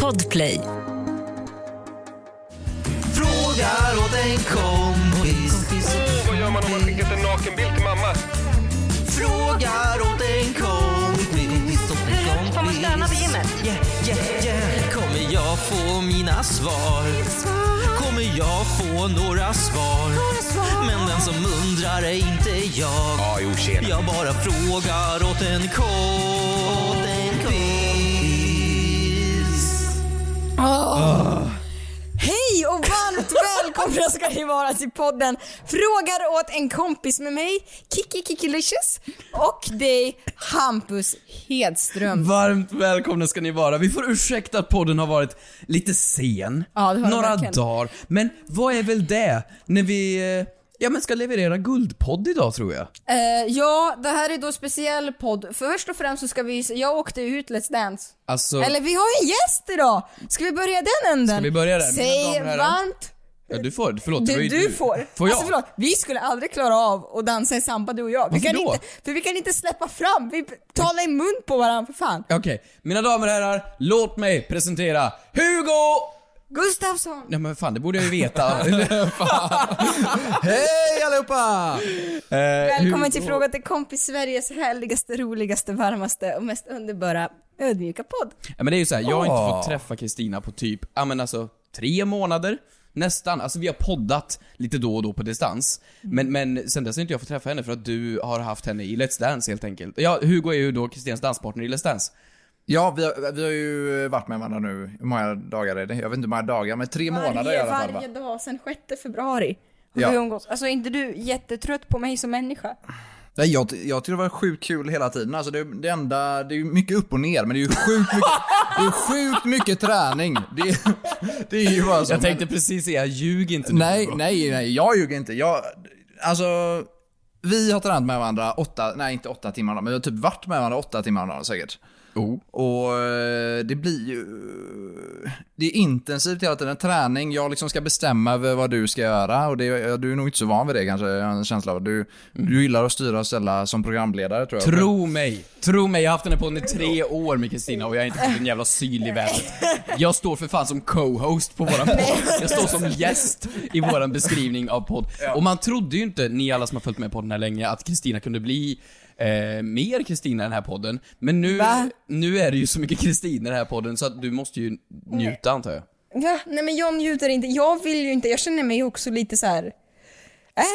Podplay. Frågar åt en kompis. Åh, vad gör man om man skickat en nakenbild till mamma? Frågar åt en kompis. Hur får man stöna på gymmet? Yeah, yeah, yeah. Kommer jag få mina svar? Kommer jag få några svar? Men den som undrar är inte jag. Ja, jo, tjena. Jag bara frågar åt en kompis. Hej och varmt välkomna ska ni vara till podden Frågar åt en kompis med mig, Kiki Kikilicious och dig Hampus Hedström. Varmt välkomna ska ni vara. Vi får ursäkta att podden har varit lite sen. Ja, det har den några verkligen. dagar. Men vad är väl det? När vi, eh, ja men ska leverera guldpodd idag tror jag. Eh, ja, det här är då speciell podd. Först och främst så ska vi, jag åkte ut Let's Dance. Alltså, Eller vi har en gäst idag! Ska vi börja den änden? Ska vi börja där, mina Säg damer och herrar? varmt ja, du får, förlåt. det var Du, ju du får. Får jag? Alltså förlåt, vi skulle aldrig klara av att dansa i samba du och jag. Vi Varför kan då? inte, för vi kan inte släppa fram, vi talar i mun på varandra för fan. Okej, mina damer och herrar, låt mig presentera Hugo! Gustafsson! Nej men fan, det borde jag ju veta. Hej allihopa! Eh, Välkommen till Fråga till kompis Sveriges härligaste, roligaste, varmaste och mest underbara ödmjuka podd. Ja, men det är ju så här, jag har inte fått träffa Kristina på typ, ja men alltså, tre månader. Nästan. Alltså vi har poddat lite då och då på distans. Men, men sen dess har inte jag fått träffa henne för att du har haft henne i Let's Dance helt enkelt. Ja, Hugo är ju då Kristinas danspartner i Let's Dance. Ja, vi har, vi har ju varit med varandra nu, hur många dagar är det? Jag vet inte hur många dagar, men tre månader i Varje, alla fall. va? varje dag sedan 6 februari har Ja. vi umgåtts. Alltså är inte du jättetrött på mig som människa? Nej, jag, jag tycker det var sjukt kul hela tiden. Alltså det, det enda, det är ju mycket upp och ner, men det är ju sjukt mycket, det är sjukt mycket träning. Det, det är ju bara så. Jag tänkte precis säga, ljug inte nu. men, nej, Hugo. nej, nej, jag ljuger inte. Jag, alltså, vi har tränat med varandra åtta, nej inte åtta timmar, men vi har typ varit med varandra åtta timmar om dagen säkert. Oh. Och eh, det blir ju... Det är intensivt hela tiden. Träning, jag liksom ska bestämma över vad du ska göra. Och det, du är nog inte så van vid det kanske, jag har en känsla av. Du, du gillar att styra och ställa som programledare tror jag. Tro mig, tro mig, jag har haft henne på under tre år med Kristina och jag har inte fått en jävla syl i vädret. Jag står för fan som co-host på våran podd. Jag står som gäst i våran beskrivning av podd. Och man trodde ju inte, ni alla som har följt med podden här länge, att Kristina kunde bli eh, mer Kristina i den här podden. Men nu, Va? nu är det ju så mycket Kristina i den här podden så att du måste ju njuta antar jag. Va? Nej men jag njuter inte, jag vill ju inte, jag känner mig också lite så här.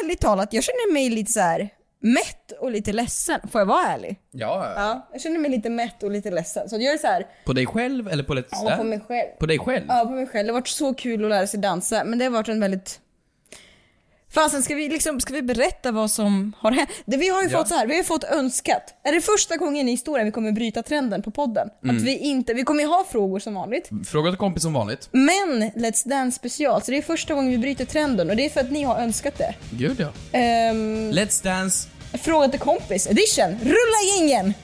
Ärligt talat, jag känner mig lite så här mätt och lite ledsen. Får jag vara ärlig? Ja, ja. Ja, jag känner mig lite mätt och lite ledsen. Så jag är så här, På dig själv eller på Let's ja, på mig Dance? själv. På dig själv? Ja, på mig själv. Det har varit så kul att lära sig dansa, men det har varit en väldigt... Fasen, ska vi, liksom, ska vi berätta vad som har hänt? Det, vi har ju fått så här, vi har fått önskat. Är det första gången i historien vi kommer bryta trenden på podden? Att vi inte, vi kommer ju ha frågor som vanligt. Fråga till kompis som vanligt. Men Let's Dance special, så det är första gången vi bryter trenden och det är för att ni har önskat det. Gud ja. Ehm, Let's Dance Fråga till kompis edition, rulla gängen!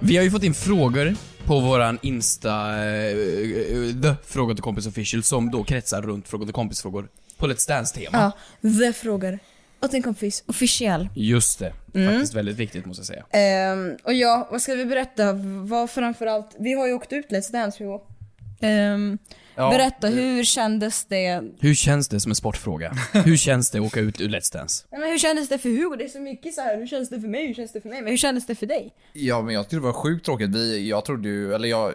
Vi har ju fått in frågor på våran Insta, eh, eh, the Fråga till kompis official, som då kretsar runt Fråga till kompis-frågor på Let's Dance-tema. Ja, the frågar åt en kompis officiell. Just det. Faktiskt väldigt viktigt måste jag säga. Ehm, och ja, vad ska vi berätta? Vad framförallt, vi har ju åkt ut Let's Dance Hugo. Ehm, berätta, hur kändes det? Nej, Hur känns det som en sportfråga? Hur känns det att åka ut ur Let's Dance? men hur kändes det för Hugo? Det är så mycket så här. hur kändes det för mig? Hur kändes det för mig? Men hur kändes det för dig? ja, men jag tyckte det var sjukt tråkigt. Vi, jag trodde ju, eller jag...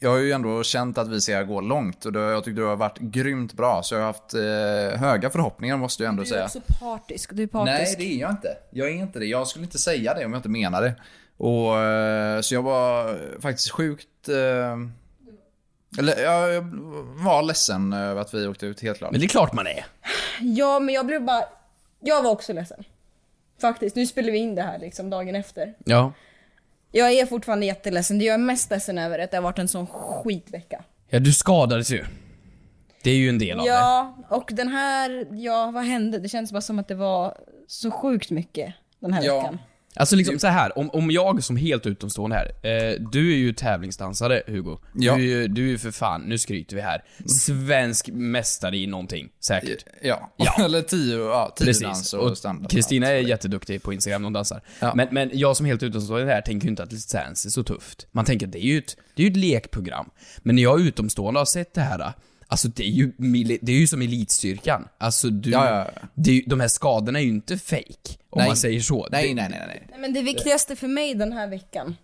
Jag har ju ändå känt att vi ska gå långt och det, jag tyckte det har varit grymt bra. Så jag har haft eh, höga förhoppningar måste jag ändå Du är säga. också partisk, du är partisk. Nej, det är jag inte. Jag är inte det. Jag skulle inte säga det om jag inte menar det. Och, eh, så jag var eh, faktiskt sjukt... Eh, eller jag, jag var ledsen över att vi åkte ut, helt klart. Men det är klart man är. Ja, men jag blev bara, jag var också ledsen. Faktiskt, nu spelar vi in det här liksom dagen efter. Ja. Jag är fortfarande jätteledsen, det jag är mest ledsen över är att det har varit en sån skitvecka. Ja, du skadades ju. Det är ju en del av det. Ja, och den här, ja vad hände? Det känns bara som att det var så sjukt mycket den här Ja. veckan. Alltså liksom så här, om, om jag som helt utomstående här, eh, du är ju tävlingsdansare Hugo. Ja. Du, är ju, du är ju för fan, nu skryter vi här, svensk mästare i någonting, säkert. Ja. Ja. Eller tio, ja, tio dans Precis. och, Och standard. Kristina är jätteduktig på Instagram när hon dansar. Ja. Men, men jag som helt utomstående här tänker ju inte att Let's Dance är så tufft. Man tänker det är ju ett, det är ju ett lekprogram. Men när jag är utomstående och har sett det här, alltså det är ju, mili- det är ju som elitstyrkan. Alltså du, Ja, ja, ja. Det är, ju- de här skadorna är ju inte fake om Nej. man säger så. Nej, det, nej, nej, nej. Nej, Men det viktigaste för mig den här veckan,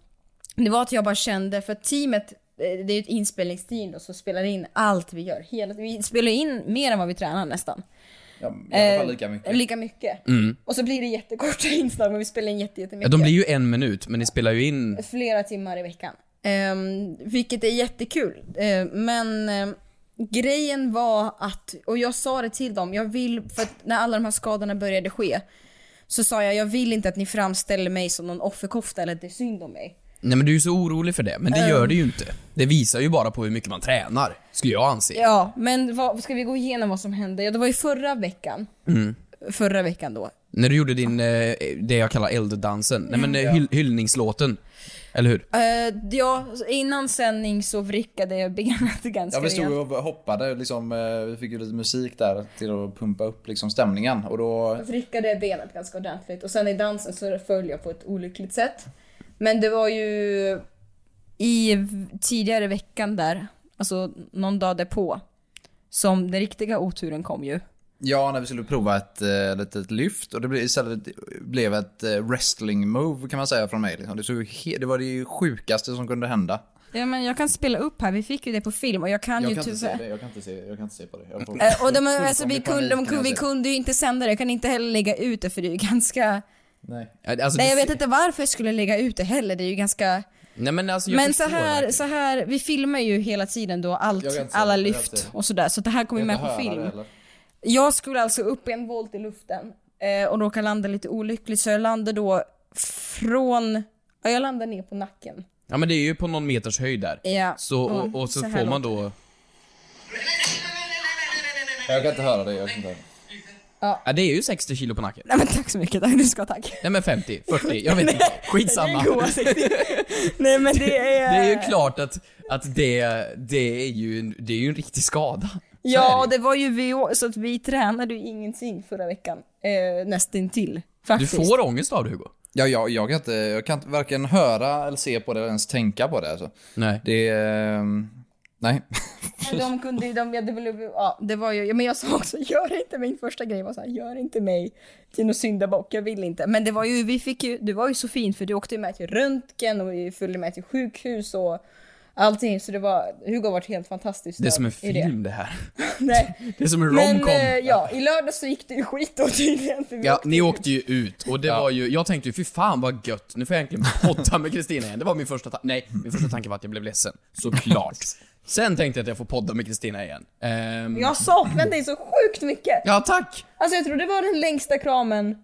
det var att jag bara kände, för att teamet, eh, det är ju ett inspelningsteam då, som spelar in allt vi gör. Hela, vi spelar in mer än vad vi tränar nästan. Ja, I alla fall lika Eh, mycket. Mm. Lika mycket. Och så blir det jättekorta inslag, men vi spelar in jätte, jättemycket. Ja, de blir ju en minut, men ni spelar ju in... flera timmar i veckan. Ehm, vilket är jättekul. Ehm, men ehm, grejen var att, och jag sa det till dem, jag vill, för att när alla de här skadorna började ske så sa jag, jag vill inte att ni framställer mig som någon offerkofta eller att det är synd om mig. Nej men du är ju så orolig för det, men det Ehm. gör det ju inte. Det visar ju bara på hur mycket man tränar, skulle jag anse. Ja, men vad, ska vi gå igenom vad som hände? Ja, det var ju förra veckan. Mm. Förra veckan då. När du gjorde din, eh, det jag kallar elddansen, nej Mm, men eh, hyll, hyllningslåten. Eller hur? Eh, ja, innan sändning så vrickade jag benet ganska Ja, vi stod rejält. och hoppade liksom, eh, vi fick ju lite musik där till att pumpa upp liksom stämningen och då... vrickade benet ganska ordentligt och sen i dansen så föll jag på ett olyckligt sätt. Men det var ju i v- tidigare veckan där, alltså någon dag därpå, som den riktiga oturen kom ju. Ja, när vi skulle prova ett eh, litet lyft och det blev, istället blev ett eh, wrestling move kan man säga från mig. Liksom. Det, såg ju he- det var det sjukaste som kunde hända. Ja men jag kan spela upp här, vi fick ju det på film och jag kan ju tyvärr... det, jag kan inte se, jag kan inte se på det. Jag får- typ- Eh, Och de, alltså, vi, Fullkomlig kunde, de, panik när jag kunde- vi ser det. kunde ju inte sända det, jag kan inte heller lägga ut det för det är ju ganska... Nej. Nej Alltså, det jag vet ser- inte varför jag skulle lägga ut det heller, det är ju ganska... Nej men alltså jag Men så förstår här, verkligen. så här, vi filmar ju hela tiden då Jag kan allt, inte säga alla det, jag kan inte lyft säga det. och sådär, så det här kommer ju med på film. Jag skulle alltså upp i en volt i luften eh, och råkade landa lite olyckligt så jag landade då från, ja jag landade ner på nacken. Ja men det är ju på någon meters höjd där. Ja. Mm, Så, och, och så, så här får man då... Jag kan inte höra det. Jag kan inte höra det. Ja det är ju 60 kilo på nacken. Nej men tack så mycket, tack, du ska ha tack. Nej men 50, 40, jag vet inte. Skitsamma. Det är goa sekter. Nej men det är... Det är ju klart att, att det, det, är ju en, det är ju en riktig skada. Så Ja är det. det var ju vi, så att vi tränade ju ingenting förra veckan. Eh, nästintill ju. Du faktiskt. får ångest av det Hugo. Ja, jag, jag, kan inte, jag kan inte varken höra eller se på det eller ens tänka på det. Alltså. Nej. Det är... ehm, Nej. Men de kunde ju, de, ja, det, blev, ja, det var ju, ja, men jag sa också gör inte min första grej var så här, gör inte mig till någon syndabock, jag vill inte. Men det var ju, vi fick ju, det var ju så fint för du åkte ju med till röntgen och vi följde med till sjukhus och allting så det var, Hugo har varit helt fantastiskt. Det är som en i det. film det här. Nej. Det är som en Men romcom. eh, ja, i lördag så gick det ju skit då tydligen. För vi Ja, ni åkte ju ut och det var ju, jag tänkte ju fy fan vad gött, nu får jag äntligen podda med Kristina igen. Det var min första tanke, nej, min första tanke var att jag blev ledsen. Såklart. Sen tänkte jag att jag får podda med Kristina igen. Ehm, Jag har saknat dig så sjukt mycket. ja, tack! Alltså jag tror det var den längsta kramen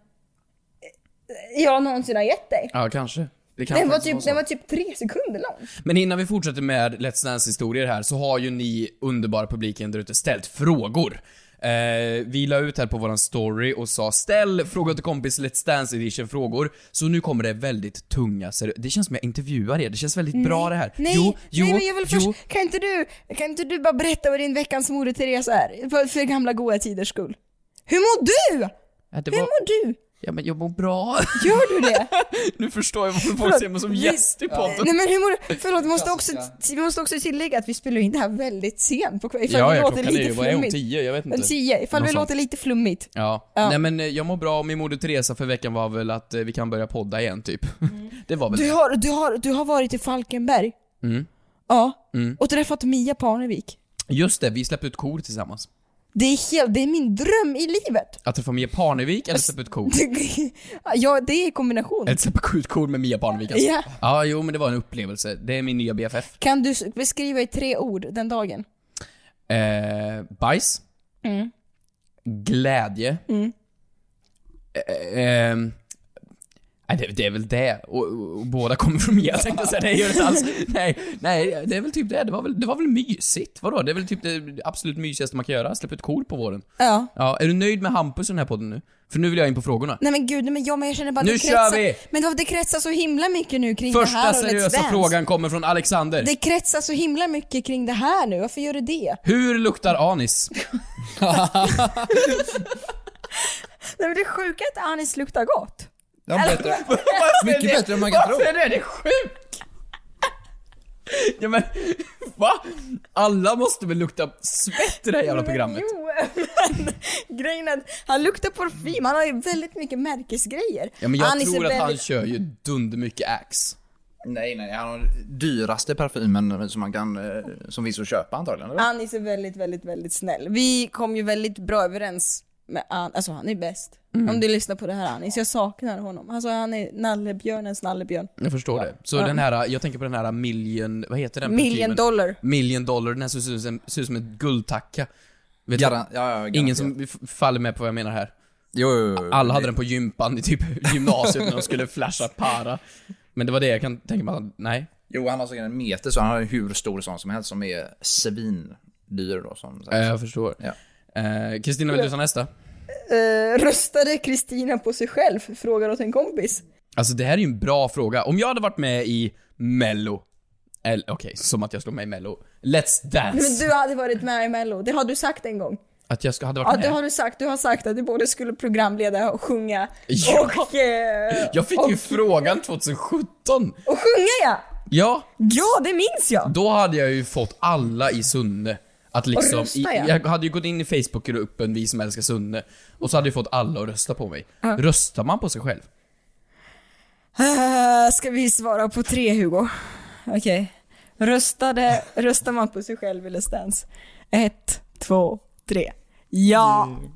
eh, jag någonsin har gett dig. Ja, kanske. Det kan Den var, faktiskt vara typ, så. den var typ tre sekunder lång. Men innan vi fortsätter med Let's Dance-historier här så har ju ni underbara publiken där ute ställt frågor. Eh, vi la ut här på våran story och sa ställ fråga till kompis Let's Dance edition frågor. Så nu kommer det väldigt tunga seri- Det känns som jag intervjuar er, det känns väldigt bra det här. Nej, jo, jo, nej men jag vill först, jo. kan inte du, kan inte du bara berätta vad din veckans moder Therese är? För, för gamla goa tiders skull. Hur mår du? Ja, det Hur var- mår du? Ja men jag mår bra. Gör du det? nu förstår jag varför folk Förlåt, ser mig som vi- gäst i podden. nej men hur mår du? Förlåt, vi måste, också, vi måste också tillägga att vi spelar in det här väldigt sent på kvällen. Ifall det låter lite flummigt. tio? Jag vet Men Tio, ifall Något det sånt. låter lite flummigt. Ja. Ja. nej men eh, jag mår bra, min moder Teresa för veckan var väl att eh, vi kan börja podda igen typ. det var väl Mm. Du har, du, har, du har varit i Falkenberg? Mm. Ja. Mm. Och träffat Mia Parnevik. Just det, vi släppte ut kor tillsammans. Det är, helt, det är min dröm i livet. Att träffa Mia Parnevik eller släppa ut kor? ja, det är kombination. Eller släppa ut kor med Mia Parnevik alltså. Ja. ja, jo men det var en upplevelse. Det är min nya BFF. Kan du s- beskriva i tre ord den dagen? Eh, bajs. Mm. Glädje. Mm. Eh, ehm, Nej, det, det är väl det. Och, och, och båda kommer från Mia tänkte jag säga. Nej, gör det inte alls. Nej, nej, det är väl typ det. Det var väl, det var väl mysigt? Vadå? Det är väl typ det absolut mysigaste man kan göra. Släppa ut kor på våren. Ja. Ja, är du nöjd med Hampus i den här podden nu? För nu vill jag in på frågorna. Nej men gud, nej, men jag, men jag känner bara att Nu det kör kretsar, vi! Men det- det kretsar så himla mycket nu kring det här Första och Let's seriösa Dance. frågan kommer från Alexander. Det kretsar så himla mycket kring det här nu, varför gör det det? Hur luktar anis? Nej men det sjuka är att Anis luktar gott. Det var bättre. Mycket bättre än man kan tro. Varför är det sjukt? Ja men, va? Alla måste väl lukta svett i det här jävla programmet? Jo, men grejen är att han luktar parfym, han har ju väldigt mycket märkesgrejer. Ja men jag Anis är tror att han väldigt- kör ju dunder mycket ax. Nej, nej, han har dyraste parfymen som man kan, eh, som finns att köpa antagligen. Eller? Anis är väldigt, väldigt, väldigt snäll. Vi kom ju väldigt bra överens med Anis, alltså han är bäst. Mm. Om du lyssnar på det här Anis, jag saknar honom. Alltså han är nallebjörnens nallebjörn. Jag förstår det. Så den här, jag tänker på den här million, vad heter den? Million parfymen? dollar. Million dollar, den här som ser ut som, ser ut som ett guldtacka. Vet du- Garan- ja, ja, garanterat. Ingen som f- faller med på vad jag menar här. Jo, jo, jo. Alla hade den på gympan i typ gymnasiet när de skulle flasha para. Men det var det jag kan tänka mig att, nej. Jo, han har säkert en meter, så han har ju hur stor sån som helst som är svindyr då. Som sagt. Eh, Jag förstår. Ja. Eh, Kristina, vill du ta nästa? Eh, röstade Kristina på sig själv? Frågar åt en kompis. Alltså det här är ju en bra fråga. Om jag hade varit med i Mello, eller okej, som att jag slår med i Mello. Let's Dance. Men du hade varit med i mello, det har du sagt en gång. Att jag ska, hade Ja varit det med. har du sagt, du har sagt att du både skulle programleda och sjunga. Ja. Och, eh, Jag fick ju frågan 2017. och sjunga ja! Ja, Ja det minns jag! då hade jag ju fått alla i Sunne att liksom... rösta, i, ja. Jag hade ju gått in i Facebookgruppen Vi som älskar Sunne och så hade jag fått alla att rösta på mig. Röstar man på sig själv? Eh, ska vi svara på tre Hugo? Okej. Röstade, röstar man på sig själv i Let's Dance? Ett, två, tre. Ja! Mm.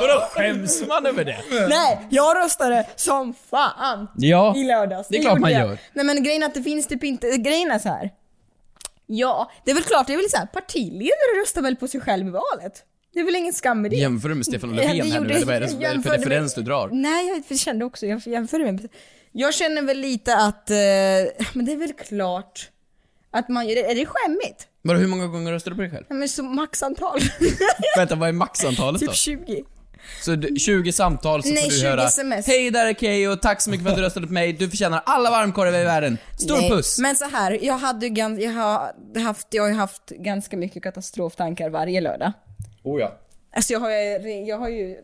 Vadå, skäms man över det? Nej, jag röstade som fan! Ja. i lördags. Det är klart gjorde man jag. gör. Nej men grejen är att det finns typ inte, grejen är så här. Ja, det är väl klart, det är väl så här, partiledare röstar väl på sig själv i valet? Det är väl ingen skam med det? Jämför du med Stefan Ja, det Löfven här gjorde- nu eller vad är det som- vad är det för jämförde med- referens du drar? Nej, jag kände också, jag jämförde med Jag känner väl lite att, eh, men det är väl klart att man gör det. Är det skämmigt? Vadå, hur många gånger röstar du på dig själv? Nej men så maxantal. Vänta, vad är maxantalet då? typ 20. Så du- 20 samtal så Nej, får du 20 höra SMS. Hej där är Keyyo, tack så mycket för att du röstade på mig, du förtjänar alla varmkorvar i världen. Stor Nej, puss! Men så här, jag, hade ju gans, jag, har haft, jag har ju haft ganska mycket katastroftankar varje lördag. Oh, ja. Alltså jag har, ju- jag har ju...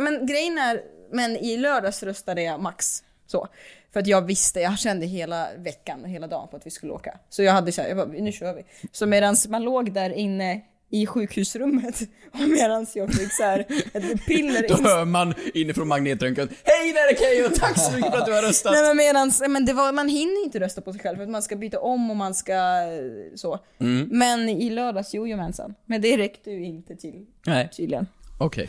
Men grejen är, men i lördags röstade jag max. Så. För att jag visste, jag kände hela veckan och hela dagen på att vi skulle åka. Så jag hade så här, jag bara, nu kör vi. Så medan man låg där inne i sjukhusrummet och medan jag fick så här ett piller Då inst- hör man inifrån magnetröntgen Hej där är Keyyo, tack så mycket för att du har röstat. Nej men medans, men det var, man hinner inte rösta på sig själv för att man ska byta om och man ska eh, så. Mm. Men i lördags, jojomensan. Men det räckte ju inte till Nej, tydligen. okej.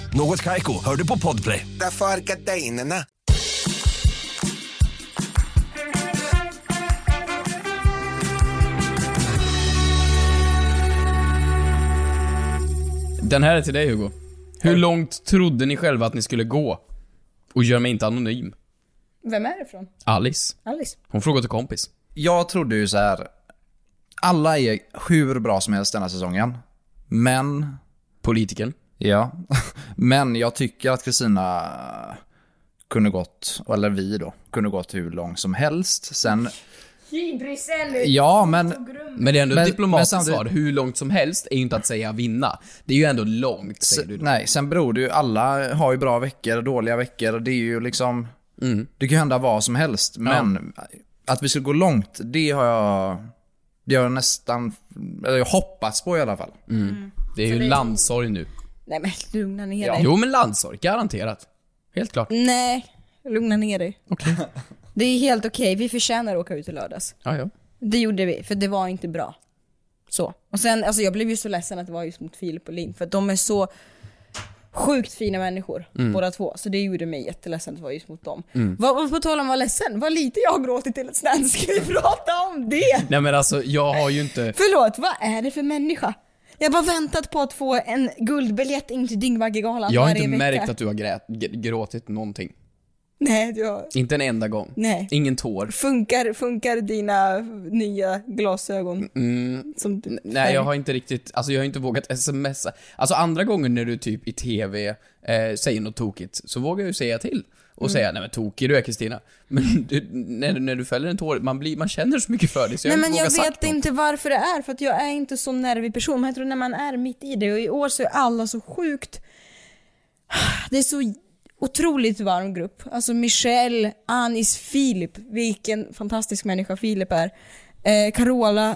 Något Kaiko, hör du på Podplay. Därför är gardinerna. Den här är till dig Hugo. Hur långt trodde ni själva att ni skulle gå? Och gör mig inte anonym. Vem är det från? Alice. Alice? Hon frågade till kompis. Jag trodde ju så här. Alla är hur bra som helst denna säsongen. Men, Politikern. ja. Men jag tycker att Kristina kunde gått, eller vi då, kunde gått hur långt som helst. Sen, Hybrisen! ja men, Men det är ändå Men- ett diplomatiskt men samtidigt- svar. Hur långt som helst är ju inte att säga vinna. Det är ju ändå långt, säger du. då. nej, sen beror det ju, alla har ju bra veckor, dåliga veckor. Det är ju liksom, det kan ju hända vad som helst. Men att vi skulle gå långt, det har jag, det har jag nästan, eller jag hoppats på i alla fall. Det är ju landsorg nu. Nej men lugna ner dig. Jo men landsorg, garanterat. Helt klart. Nej, Lugna ner dig. Det är helt okej, vi förtjänar att åka ut i lördags. Ja, ja. Det gjorde vi, för det var inte bra. Så. Och sen, alltså jag blev ju så ledsen att det var just mot Filip och Linn, för att de är så sjukt fina människor Mm. båda två. Så det gjorde mig jätteledsen att det var just mot dem. Vad, vad, på tal om att vara ledsen, vad lite jag har gråtit till ett snäll, ska vi prata om det? Nej men alltså, jag har ju inte... Förlåt, vad är det för människa? Jag har bara väntat på att få en guldbiljett in till Dyngbaggegalan Jag har varje inte vecka. märkt att du har grät, g- gråtit någonting. Nej, du har... Inte en enda gång. Nej. Ingen tår. Funkar, funkar dina nya glasögon? Som du... Mm. Nej, jag har inte riktigt, alltså jag har inte vågat smsa. Alltså andra gånger när du typ i TV eh, säger något tokigt, så vågar jag ju säga till. Och Mm. säga, nej men tokig du är Kristina. Men du, när, när du fäller en tår, man, blir, man känner så mycket för det så jag Nej men har inte jag vågat sagt vet något. inte varför det är, för att jag är inte så nervig person. Men jag tror när man är mitt i det, och i år så är alla så sjukt... Det är så otroligt varm grupp. Alltså Michelle, Anis, Filip. Vilken fantastisk människa Filip är. Eh, Carola.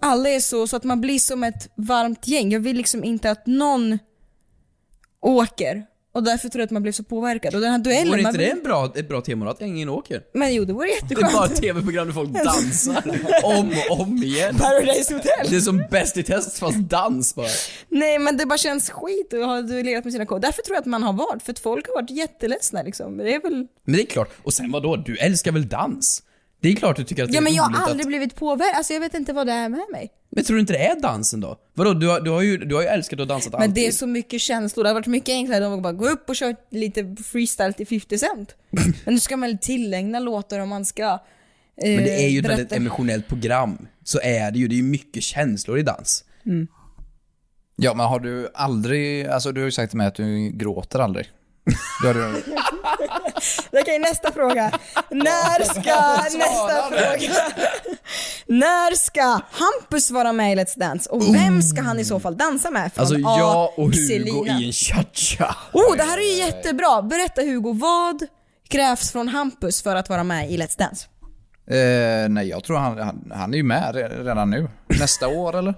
Alla är så, så att man blir som ett varmt gäng. Jag vill liksom inte att någon åker. Och därför tror jag att man blev så påverkad. Och den här duellen... Vore man inte det blir- en bra, ett bra tema då, att ingen åker? Men jo, det vore Det är bara ett jätteskönt. TV-program där folk dansar om och om igen. Paradise Hotel. Det är som Bäst i test fast dans bara. Nej men det bara känns skit att ha duellerat med sina kompisar. Därför tror jag att man har varit, för att folk har varit jätteledsna liksom. Det är väl... Men det är klart, och sen vadå, du älskar väl dans? Det är klart du tycker att det Ja är men jag roligt har aldrig att... blivit påverkad, alltså jag vet inte vad det är med mig. Men tror du inte det är dansen då? Vadå, du har, du har, ju, du har ju älskat och dansat Men alltid. det är så mycket känslor, det hade varit mycket enklare om man bara gå upp och köra lite freestyle till 50 cent. Men nu ska man tillägna låtar om man ska... eh, Men det är ju ett berätta- väldigt emotionellt program. Så är det ju, det är ju mycket känslor i dans. Ja, men har du aldrig, alltså du har ju sagt till mig att du gråter aldrig. Du har du, Okej, nästa fråga. När ska... nästa fråga. När ska Hampus vara med i Let's Dance? Och vem ska han i så fall dansa med? Från Oh. Alltså A. jag och Hugo Selina. i en cha-cha. Oh, det här är ju jättebra! Berätta Hugo, vad krävs från Hampus för att vara med i Let's Dance? eh, nej, jag tror han, han, han är ju med re- redan nu. Nästa år eller?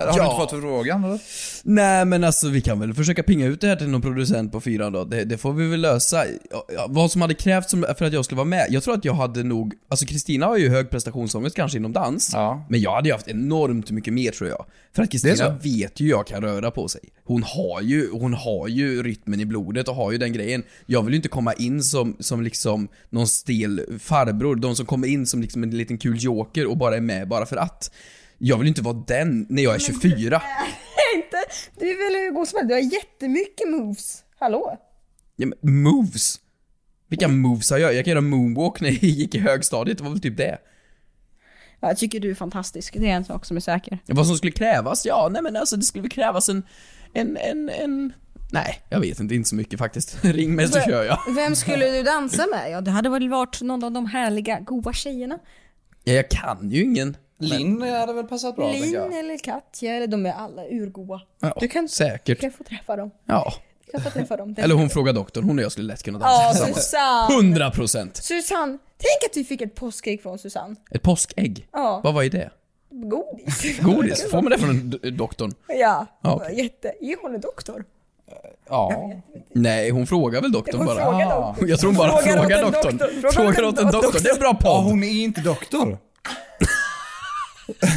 Har du Ja. inte fått frågan eller? Nej men alltså vi kan väl försöka pinga ut det här till någon producent på fyran då. Det, det får vi väl lösa. Ja, ja, Vad som hade krävts som- för att jag skulle vara med. Jag tror att jag hade nog, alltså Kristina har ju hög prestationsångest kanske inom dans. Ja. Men jag hade ju haft enormt mycket mer tror jag. För att Det Kristina är så. vet ju hur jag kan röra på sig. Hon har ju, hon har ju rytmen i blodet och har ju den grejen. Jag vill ju inte komma in som, som liksom någon stel farbror. De som kommer in som liksom en liten kul joker och bara är med bara för att. Jag vill ju inte vara den när jag är 24. Inte? Du är väl Hugo som helst? Du har jättemycket moves. Hallå? Ja, men moves? Vilka moves har jag? Jag kan göra moonwalk när jag gick i högstadiet, det var väl typ det. Ja, jag tycker du är fantastisk, det är en sak som är säker. Vad som skulle krävas? Ja, nej men alltså det skulle väl krävas en... En, en, en... Nej, jag vet inte, inte så mycket faktiskt. Ring mig så kör jag. Vem skulle du dansa med? Ja, det hade väl varit någon av de härliga, goa tjejerna. Ja, jag kan ju ingen. Linn hade väl passat bra tänker Linn jag. eller Katja, eller de är alla urgoa. Ja, Du kan- Säkert. Du kan få träffa dem. Ja. Du kan få träffa dem. Eller hon frågar doktorn, hon och jag skulle lätt kunna dansa Ja, tillsammans. Susanne. 100 procent! Susanne, tänk att vi fick ett påskägg från Susanne. Ett påskägg? Ja. Vad var det? Godis. Godis? Får man det från d- doktorn? Ja, Ja, okej. jätte. Är hon en doktor? Ja. Nej, hon frågar väl doktorn Hon bara. frågar Ah. doktorn. Jag tror hon bara Frågar frågar, åt en doktorn. doktor. Frågar Frågar åt en doktor. Det är en bra podd. Ja, hon är inte doktor.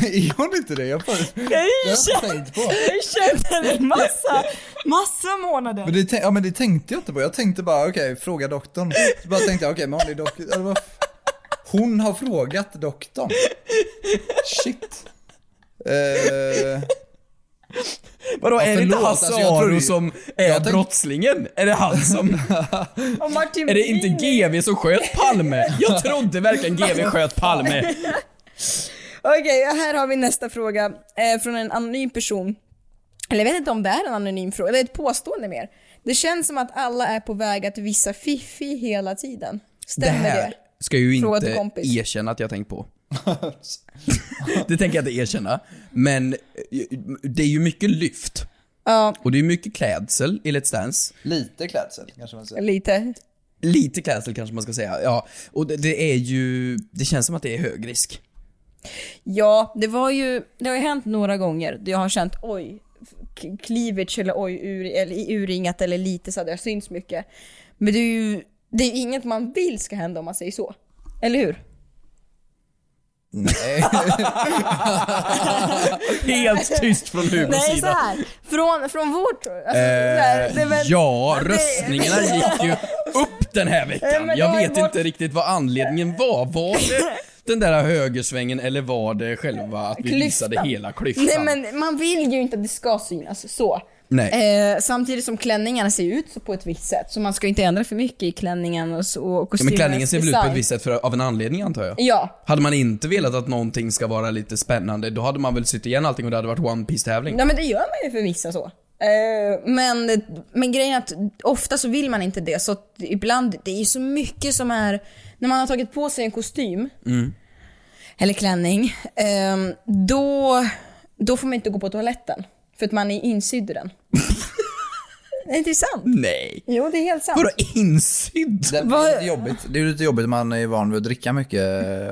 är hon inte det? Jag har jag har tänkt på. Jag känner en massa, massa månader. Men det, tän- ja, men det tänkte jag inte på. Jag tänkte bara, okej, fråga doktorn. Så bara tänkte jag, okej, men hon är doktor. Eller vad f- Hon har frågat doktorn. Shit. Eh, Vadå, är det inte förlåt, Hasse alltså, jag tror Aro ju- som är tänk- brottslingen? Är det han som... Och Martin är det inte Wiener. GV som sköt Palme? Jag trodde verkligen GV sköt Palme. Okej, här har vi nästa fråga eh, från en anonym person. Eller jag vet inte om det är en anonym fråga, det är ett påstående mer. Det känns som att alla är på väg att visa fiffi hela tiden. Det Stämmer det? här ska jag ju Fråga till inte kompis. erkänna att jag tänkt på. det tänker jag inte erkänna. Men eh, det är ju mycket lyft. Ja, Och det är mycket klädsel i Let's Dance. lite klädsel kanske alltså. man säger. lite. Lite klädsel kanske man ska säga. Ja, och det, det är ju... Det känns som att det är hög risk. Ja, det var ju, det har ju hänt några gånger då jag har känt oj, k- cleavage eller oj, ur, eller i urringat eller lite så hade jag syns mycket. Men det är ju Det är ju inget man vill ska hända om man säger så. Eller hur? Helt tyst från Hugos Nej, så sida. här. Från, från vårt... Alltså, så här, det är väl- Eh, Ja, det- röstningarna gick ju upp den här Ja, veckan. men Jag det var vet ju inte riktigt vad anledningen var. Var det den där högersvängen eller var det själva att vi visade Klyftan. hela klyftan? Nej men man vill ju inte att det ska synas så. Nej. Eh, samtidigt som klänningarna ser ut så på ett visst sätt, så man ska ju inte ändra för mycket i klänningen och, så, och Ja, kostymen. men klänningen ser väl ut på ett visst sätt för, av en anledning antar jag? Ja. Hade man inte velat att någonting ska vara lite spännande, då hade man väl sytt igen allting och det hade varit One piece tävling ja, men det gör man ju för vissa så. Eh, men, men grejen är att ofta så vill man inte det, så att ibland, det är ju så mycket som är, när man har tagit på sig en kostym, Mm. eller klänning, ehm, då, då får man inte gå på toaletten. För att man är insydd i den. Nej, det är sant. Nej. Jo, det är helt sant. Vadå insydd? Det Vad- är lite jobbigt. Det är lite jobbigt, man är van vid att dricka mycket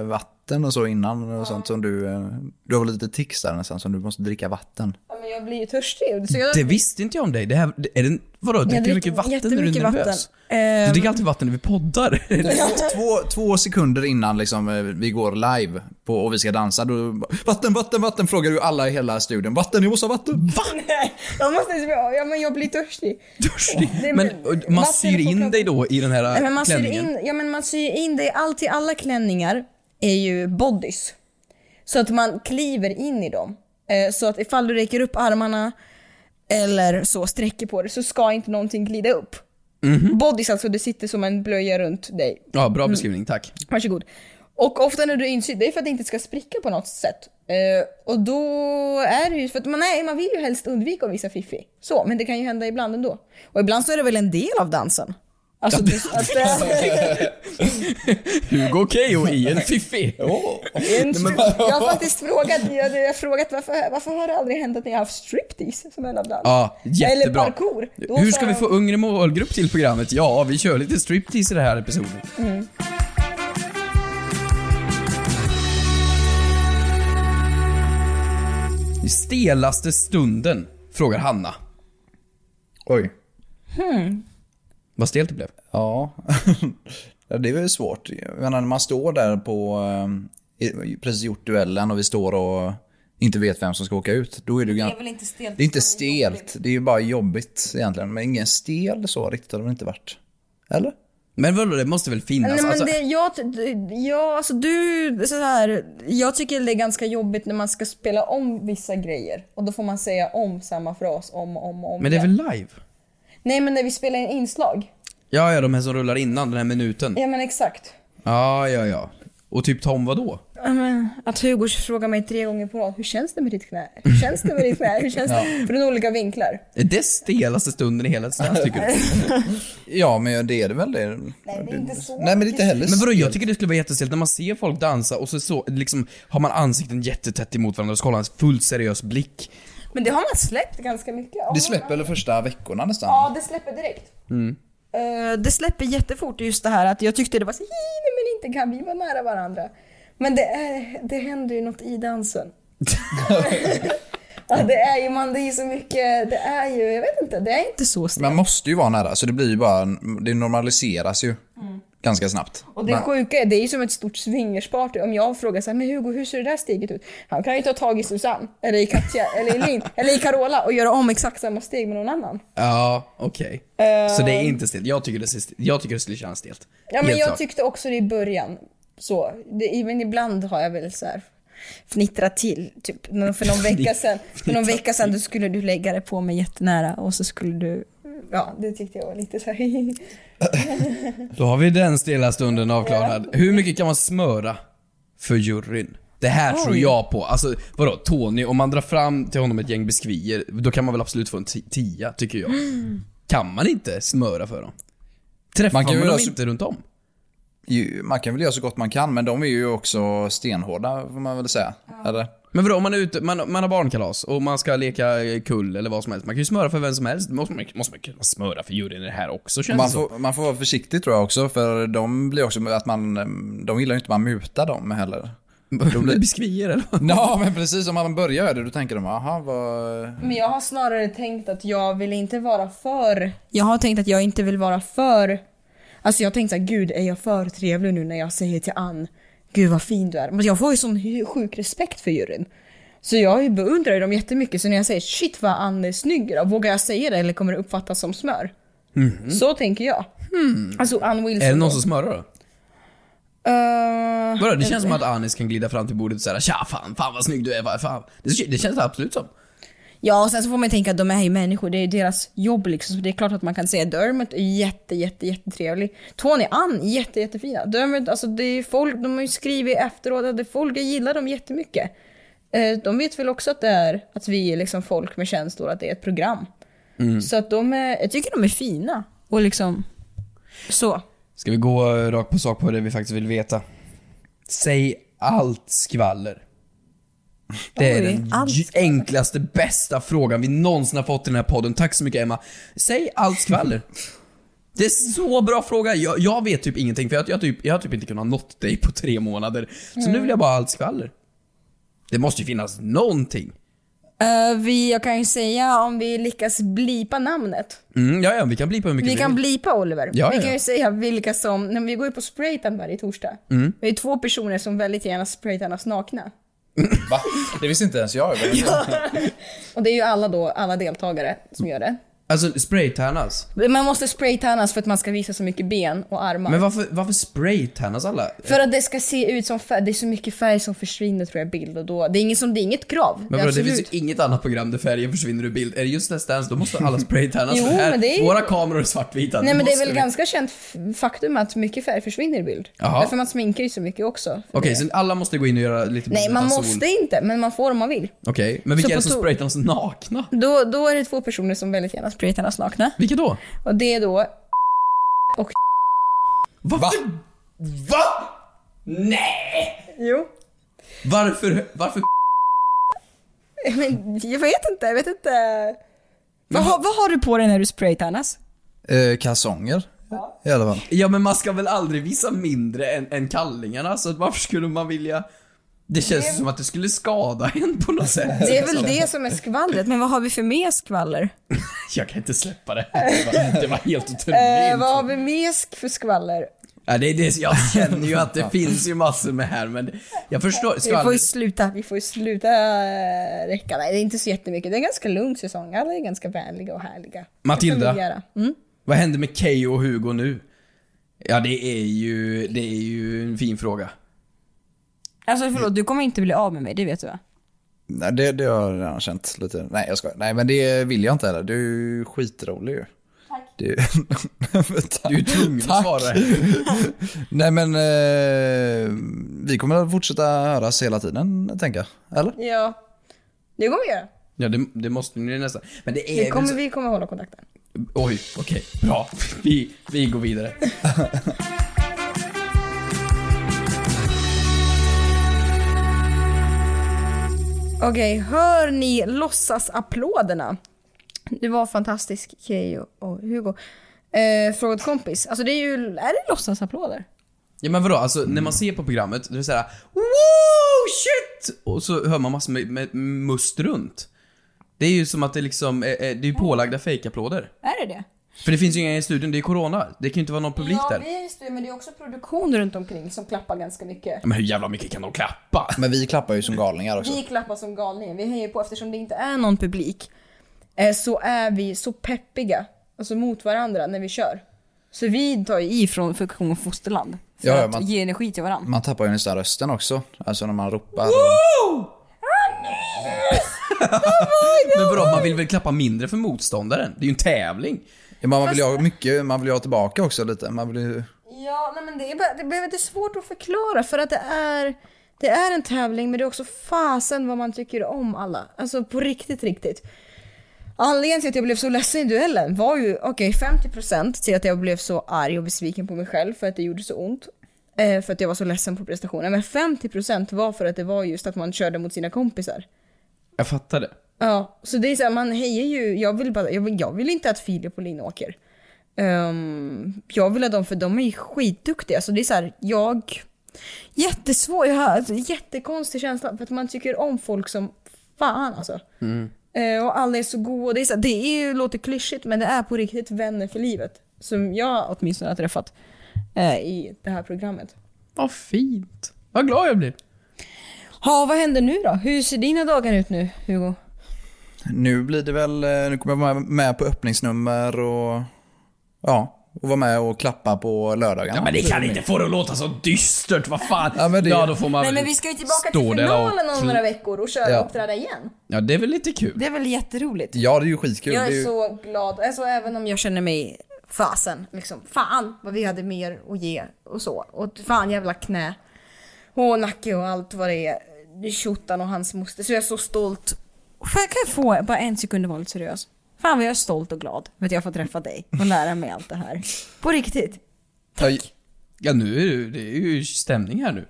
vatten och så innan och sånt som du... eh, Du har väl lite tics där nästan som du måste dricka vatten. Ja, men jag blir ju törstig. Så jag, Det visste inte jag om dig. Det här, det- är det, vadå, dricker du dricker mycket vatten när du jättemycket är nervös? vatten. Du Ehm. dricker alltid vatten när vi poddar. Två, två sekunder innan liksom, eh, vi går live på, och vi ska dansa, då... Vatten, vatten, vatten frågar du alla i hela studion. Vatten, jag måste ha vatten. Va? nej, jag måste ja, men jag blir törstig. Törstig. Det- Men och man vatten syr på in kroppen. dig då i den här Nej, men man syr klänningen. in, ja, men man syr in det, allt i alla klänningar är ju bodys. Så att man kliver in i dem. Eh, Så att ifall du räcker upp armarna eller så sträcker på dig så ska inte någonting glida upp. Bodys alltså, det sitter som en blöja runt dig. Ja, bra beskrivning, tack. Varsågod. Och ofta när du är insydd, det är för att det inte ska spricka på något sätt. Eh, och då är det ju, för att man, nej, man vill ju helst undvika att visa fiffi. Så, men det kan ju hända ibland ändå. Och ibland så är det väl en del av dansen? Alltså, du, att, Hugo Keyyo i en fiffi. en, jag har faktiskt frågat, jag, jag har frågat varför, varför har det aldrig hänt att ni har haft striptease som en av dans? Ja, jättebra. Eller parkour. Då Hur så- ska vi få yngre målgrupp till programmet? Ja, vi kör lite striptease i den här episoden. Mm. Stelaste stunden? Frågar Hanna. Oj. Vad stelt det blev. Ja. ja, det är väl svårt. Jag menar, när man står där på, eh, precis gjort duellen och vi står och inte vet vem som ska åka ut. Då är det, ju gan- inte stelt? det är inte stelt, det är ju bara jobbigt egentligen. Men ingen stel så riktigt har det inte varit. Eller? Men vadå, det måste väl finnas? Nej, men alltså, det, jag, jag, alltså du, så här, jag tycker det är ganska jobbigt när man ska spela om vissa grejer och då får man säga om samma fras om och om och om men det är igen. väl live? Nej men när vi spelar in inslag. Ja, ja, de här som rullar innan den här minuten. Ja men exakt. Ja, ja, ja. Och typ Tom vadå? Ja, men, att Hugo frågar mig tre gånger på rad, hur känns det med ditt knä? Hur känns det med ditt knä? Hur känns det? Från olika vinklar. Är det stelaste stunden i hela stans tycker du? Ja, men det är det väl. Det är... Nej det är inte så. Nej, men inte heller Men vadå, stelt. jag tycker det skulle vara jättestelt när man ser folk dansa och så, så liksom, har man ansikten jättetätt emot varandra och så kollar man en fullt seriös blick. Men det har man släppt ganska mycket. Det släpper väl första veckorna nästan? Ja, det släpper direkt. Eh, det släpper jättefort just det här att jag tyckte det var så "Hi, nej men inte kan vi vara nära varandra. Men det, är, det händer ju något i dansen. ja, det är ju man, det är ju så mycket, det är ju, jag vet inte, det är inte så snabbt. Man måste ju vara nära, så det blir ju bara, det normaliseras ju ganska snabbt. Mm. Och det sjuka är, det är ju som ett stort swingersparty. Om jag frågar så här, men Hugo hur ser det där steget ut? Han kan ju ta tag i Susanne, eller i Katja, eller i Linn, eller i Carola och göra om exakt samma steg med någon annan. Ja, okej. Så det är inte stelt. Jag tycker det, ser st- jag tycker det skulle kännas stelt. Eh. Ja men Helt jag klart. tyckte också det i början. Så. Det, men ibland har jag väl så här fnittrat till. Typ när- för någon vecka sedan, för någon vecka sedan då skulle du lägga det på mig jättenära och så skulle du Ja, det tyckte jag var lite så här. Då har vi den stela stunden avklarad. Hur mycket kan man smöra för juryn? Det här tror jag på. Alltså vadå, Tony, om man drar fram till honom ett gäng biskvier, då kan man väl absolut få en ti- tia, tycker jag. Kan man inte smöra för dem? Träffar man, Man kan ju dem alltså- inte runt om? Ju- Man kan väl göra så gott man kan, men de är ju också stenhårda får man väl säga. Eller? Men vadå, om man är ute, man, man har barnkalas och man ska leka eh, kull eller vad som helst. Man kan ju smöra för vem som helst. Måste man, måste man kunna smöra för juryn i det här också känns det Man, som. får, man får vara försiktig tror jag också, för de blir också att man, de gillar ju inte att man mutar dem heller. De blir biskvier eller vad? Ja, men precis om man börjar göra det, då tänker de aha vad... Men jag har snarare tänkt att jag vill inte vara för... Jag har tänkt att jag inte vill vara för... Alltså jag tänkte såhär, gud är jag för trevlig nu när jag säger till Ann, gud vad fin du är. Men jag får ju sån hu- sjuk respekt för juryn. Så jag beundrar ju dem jättemycket, så när jag säger shit vad Ann är snygg idag, vågar jag säga det eller kommer det uppfattas som smör? Så tänker jag. Alltså Ann Wilson. Mhm. Hmm. Är det någon då. som smörar då? Eh, Vadå, det känns som att Anis kan glida fram till bordet och säga Tja fan, fan vad snygg du är, vad fan. Det, det känns det absolut som. Ja, och sen så får man ju tänka att de är ju människor, det är deras jobb liksom. Så det är klart att man kan säga Dermot är jätte, jätte, jättetrevlig. Tony, Ann, jätte, jättefina. Dermot, alltså det är folk, de har ju skrivit efteråt att det är folk, jag gillar dem jättemycket. Eh, De vet väl också att det är, att vi är liksom folk med känslor, att det är ett program. Så att de är, jag tycker de är fina. Och liksom, så. Ska vi gå eh, rakt på sak på det vi faktiskt vill veta? Säg allt skvaller. Det är Oj, den allt j- enklaste, bästa frågan vi någonsin har fått i den här podden. Tack så mycket Emma. Säg allt skvaller. Det är så bra fråga. Jag, jag vet typ ingenting för jag, jag, typ, jag har typ inte kunnat nått dig på tre månader. Så Mm. nu vill jag bara ha allt skvaller. Det måste ju finnas någonting. Eh, vi, jag kan ju säga om vi lyckas blipa namnet. Mm, ja, ja, vi kan bli på hur mycket Vi kan blipa Oliver. Ja, vi ja. kan ju säga vilka som, när vi går ju på spraytan varje torsdag. Mm. Det är två personer som väldigt gärna spraytanas nakna. Va? Det visste inte ens jag. Och det är ju alla då, alla deltagare som gör det. Alltså spraytannas. Men Man måste spraytanas för att man ska visa så mycket ben och armar. Men varför, varför spraytannas alla? för att det ska se ut som färg, det är så mycket färg som försvinner tror jag i bild och då, det är inget, som, det är inget krav. Men det är vadå, det finns absolut. ju inget annat program där färgen försvinner ur bild. Är det just Let's Dance, då måste alla spraytannas. Jo, för här, men det är ju- Våra kameror är svartvita. Nej Det men det är måste väl vi- ganska känt f- faktum att mycket färg försvinner i bild. Jaha. Därför man sminkar ju så mycket också. för Okej, det. så Alltså- alla måste gå in och göra lite Nej man sol. måste inte, men man får om man vill. Okej, men vilka Så är det på to- som spraytannas nakna? Då, då är det två personer som väldigt gärna spraytanas nakna. Vilka då? Och det är då... Va? Va? Nej! Jo. Varför? Varför? Men jag vet inte, jag vet inte. Vad, har- vad har du på dig när du spraytannas? Eh, kalsonger? I alla fall. Ja men man ska väl aldrig visa mindre än, än kallingarna, så att varför skulle man vilja... Det känns ju som att det skulle skada en på något sätt. Det är väl det som är skvallret, men vad har vi för mer skvaller? Jag kan inte släppa det här. Det var, det var helt otroligt. Eh, vad har vi mer sk- för skvaller? Ja, det, är det, jag känner ju att det finns ju massor med här men jag förstår. Vi får ju Skvaller. sluta, vi får ju sluta eh, räcka. Nej, det är inte så jättemycket. Det är en ganska lugn säsong. Alla är ganska vänliga och härliga. Matilda. Det får vi göra. Mm. Vad händer med Keyyo och Hugo nu? Ja det är ju, det är ju en fin fråga. Alltså förlåt, du kommer inte bli av med mig, det vet du va? Nej, det, det har jag redan känt lite. Nej, jag skojar. Nej, men det vill jag inte heller. Du är ju skitrolig ju. Tack. Du, Du är ju tvungen att Tack. svara. här. Nej, men eh, vi kommer att fortsätta höras hela tiden, tänker jag. Eller? Ja. Det kommer vi göra. Ja det, det måste ni nästan. Men det är Vi väl kommer, så... vi kommer hålla kontakten. Oj, okej. Bra. Vi, vi går vidare. Okej, hör ni låtsasapplåderna? Det var fantastisk Keyyo och Hugo. Eh, frågat kompis. Alltså det är ju, är det låtsasapplåder? Ja men vadå, alltså när man ser på programmet, då är det såhär Wow, shit! Och så hör man massor med, med must runt. Det är ju som att det liksom, är, är, det är ju pålagda fejkapplåder. Är det det? För det finns ju inga i studion, det är corona. Det kan ju inte vara någon publik Ja, där. vi är just det, men det är också produktion runt omkring som klappar ganska mycket. Men hur jävla mycket kan de klappa? Men vi klappar ju som galningar också. Vi klappar som galningar. Vi hejar på eftersom det inte är någon publik. Eh, så är vi så peppiga, alltså mot varandra när vi kör. Så vi tar ju i från funktion fosterland. För Ja, ja, att man- ge energi till varandra. Man tappar ju nästan rösten också. Alltså när man ropar. Men vadå, man vill väl klappa mindre för motståndaren? Det är ju en tävling. Ja, man vill ju ha mycket, man vill ju ha tillbaka också lite. Man vill ju... Ja, nej men det är, bara- det behöver inte svårt att förklara för att det är, det är en tävling men det är också fasen vad man tycker om alla. Alltså på riktigt, riktigt. Anledningen till att jag blev så ledsen i duellen var ju, okej 50% till att jag blev så arg och besviken på mig själv för att det gjorde så ont. eh, För att jag var så ledsen på prestationen. Men 50% var för att det var just att man körde mot sina kompisar. Jag fattar det. Ja, så det är så här, man hejar ju, jag vill, bara, jag vill, jag vill inte att Filip och Linn åker. Ehm, jag vill att de, för de är ju skitduktiga. Så det är så här, jag... Jättesvår, jag har alltså, jättekonstig känsla för att man tycker om folk som fan alltså. Ehm, Eh, och alla är så goa. Det, är så här, det är ju, låter klyschigt men det är på riktigt vänner för livet. som jag åtminstone har träffat eh, i det här programmet. Vad fint. Vad glad jag blir. Ja, vad händer nu då? Hur ser dina dagar ut nu, Hugo? Nu blir det väl, eh, nu kommer jag vara med på öppningsnummer och ja, och vara med och klappa på lördagen. Ja, men det kan inte få det att låta så dystert, vad fan. Ja, men det- då får man Nej väl men vi ska ju tillbaka till stå där och- finalen om några veckor och köra Ja. och uppträda igen. Ja, det är väl lite kul. Det är väl jätteroligt? Ja, det är ju skitkul. Jag det är är ju... så glad, alltså, även om jag känner mig fasen liksom. Fan vad vi hade mer att ge och så. Och fan jävla knä och nacke och allt vad det är. Tjottan och hans moster. Så jag är så stolt. Fan, jag kan jag få bara en sekund och vara lite seriös? Fan vad jag är stolt och glad för att jag får träffa dig och lära mig allt det här. På riktigt. Ja, nu är det, det är ju stämning här nu.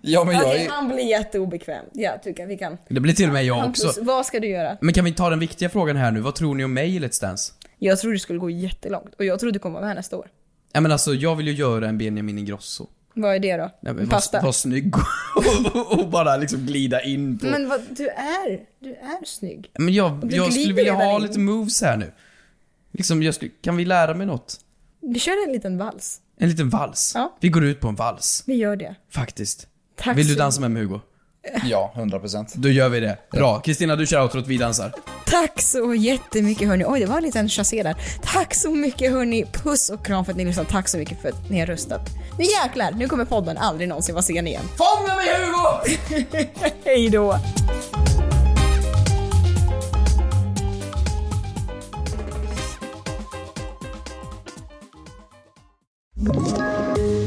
Ja, men jag Okej, är... han blir jätteobekväm. Jag tycker vi kan. Det blir till och med jag också. Hampus, vad ska du göra? Men kan vi ta den viktiga frågan här nu? Vad tror ni om mig i Let's Dance? Jag tror det skulle gå jättelångt och jag tror du kommer vara med nästa år. Ja, men alltså, jag vill ju göra en Benjamin Ingrosso. Vad är det då? Ja, men Pasta? Var, var snygg och, och, och bara liksom glida in på... Men, Men vad, du är, du är snygg. jag, du jag skulle glider vilja ha redan in. lite moves här nu. Liksom, jag skulle, kan vi lära mig något? Vi kör en liten vals. En liten vals. Ja. Vi går ut på en vals, Vi gör det. faktiskt. Tack Vill du så- dansa med mig Hugo? Ja, 100%. Då gör vi det. Bra. Kristina, du kör outrot, vi dansar. Tack så jättemycket hörni. Oj, det var en liten chassé där. Tack så mycket hörni. Puss och kram för att ni lyssnade. Tack så mycket för att ni har röstat. Nu jäklar, nu kommer podden aldrig någonsin vara sen igen. Fånga mig Hugo! Hej då!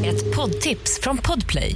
Ett poddtips från Podplay.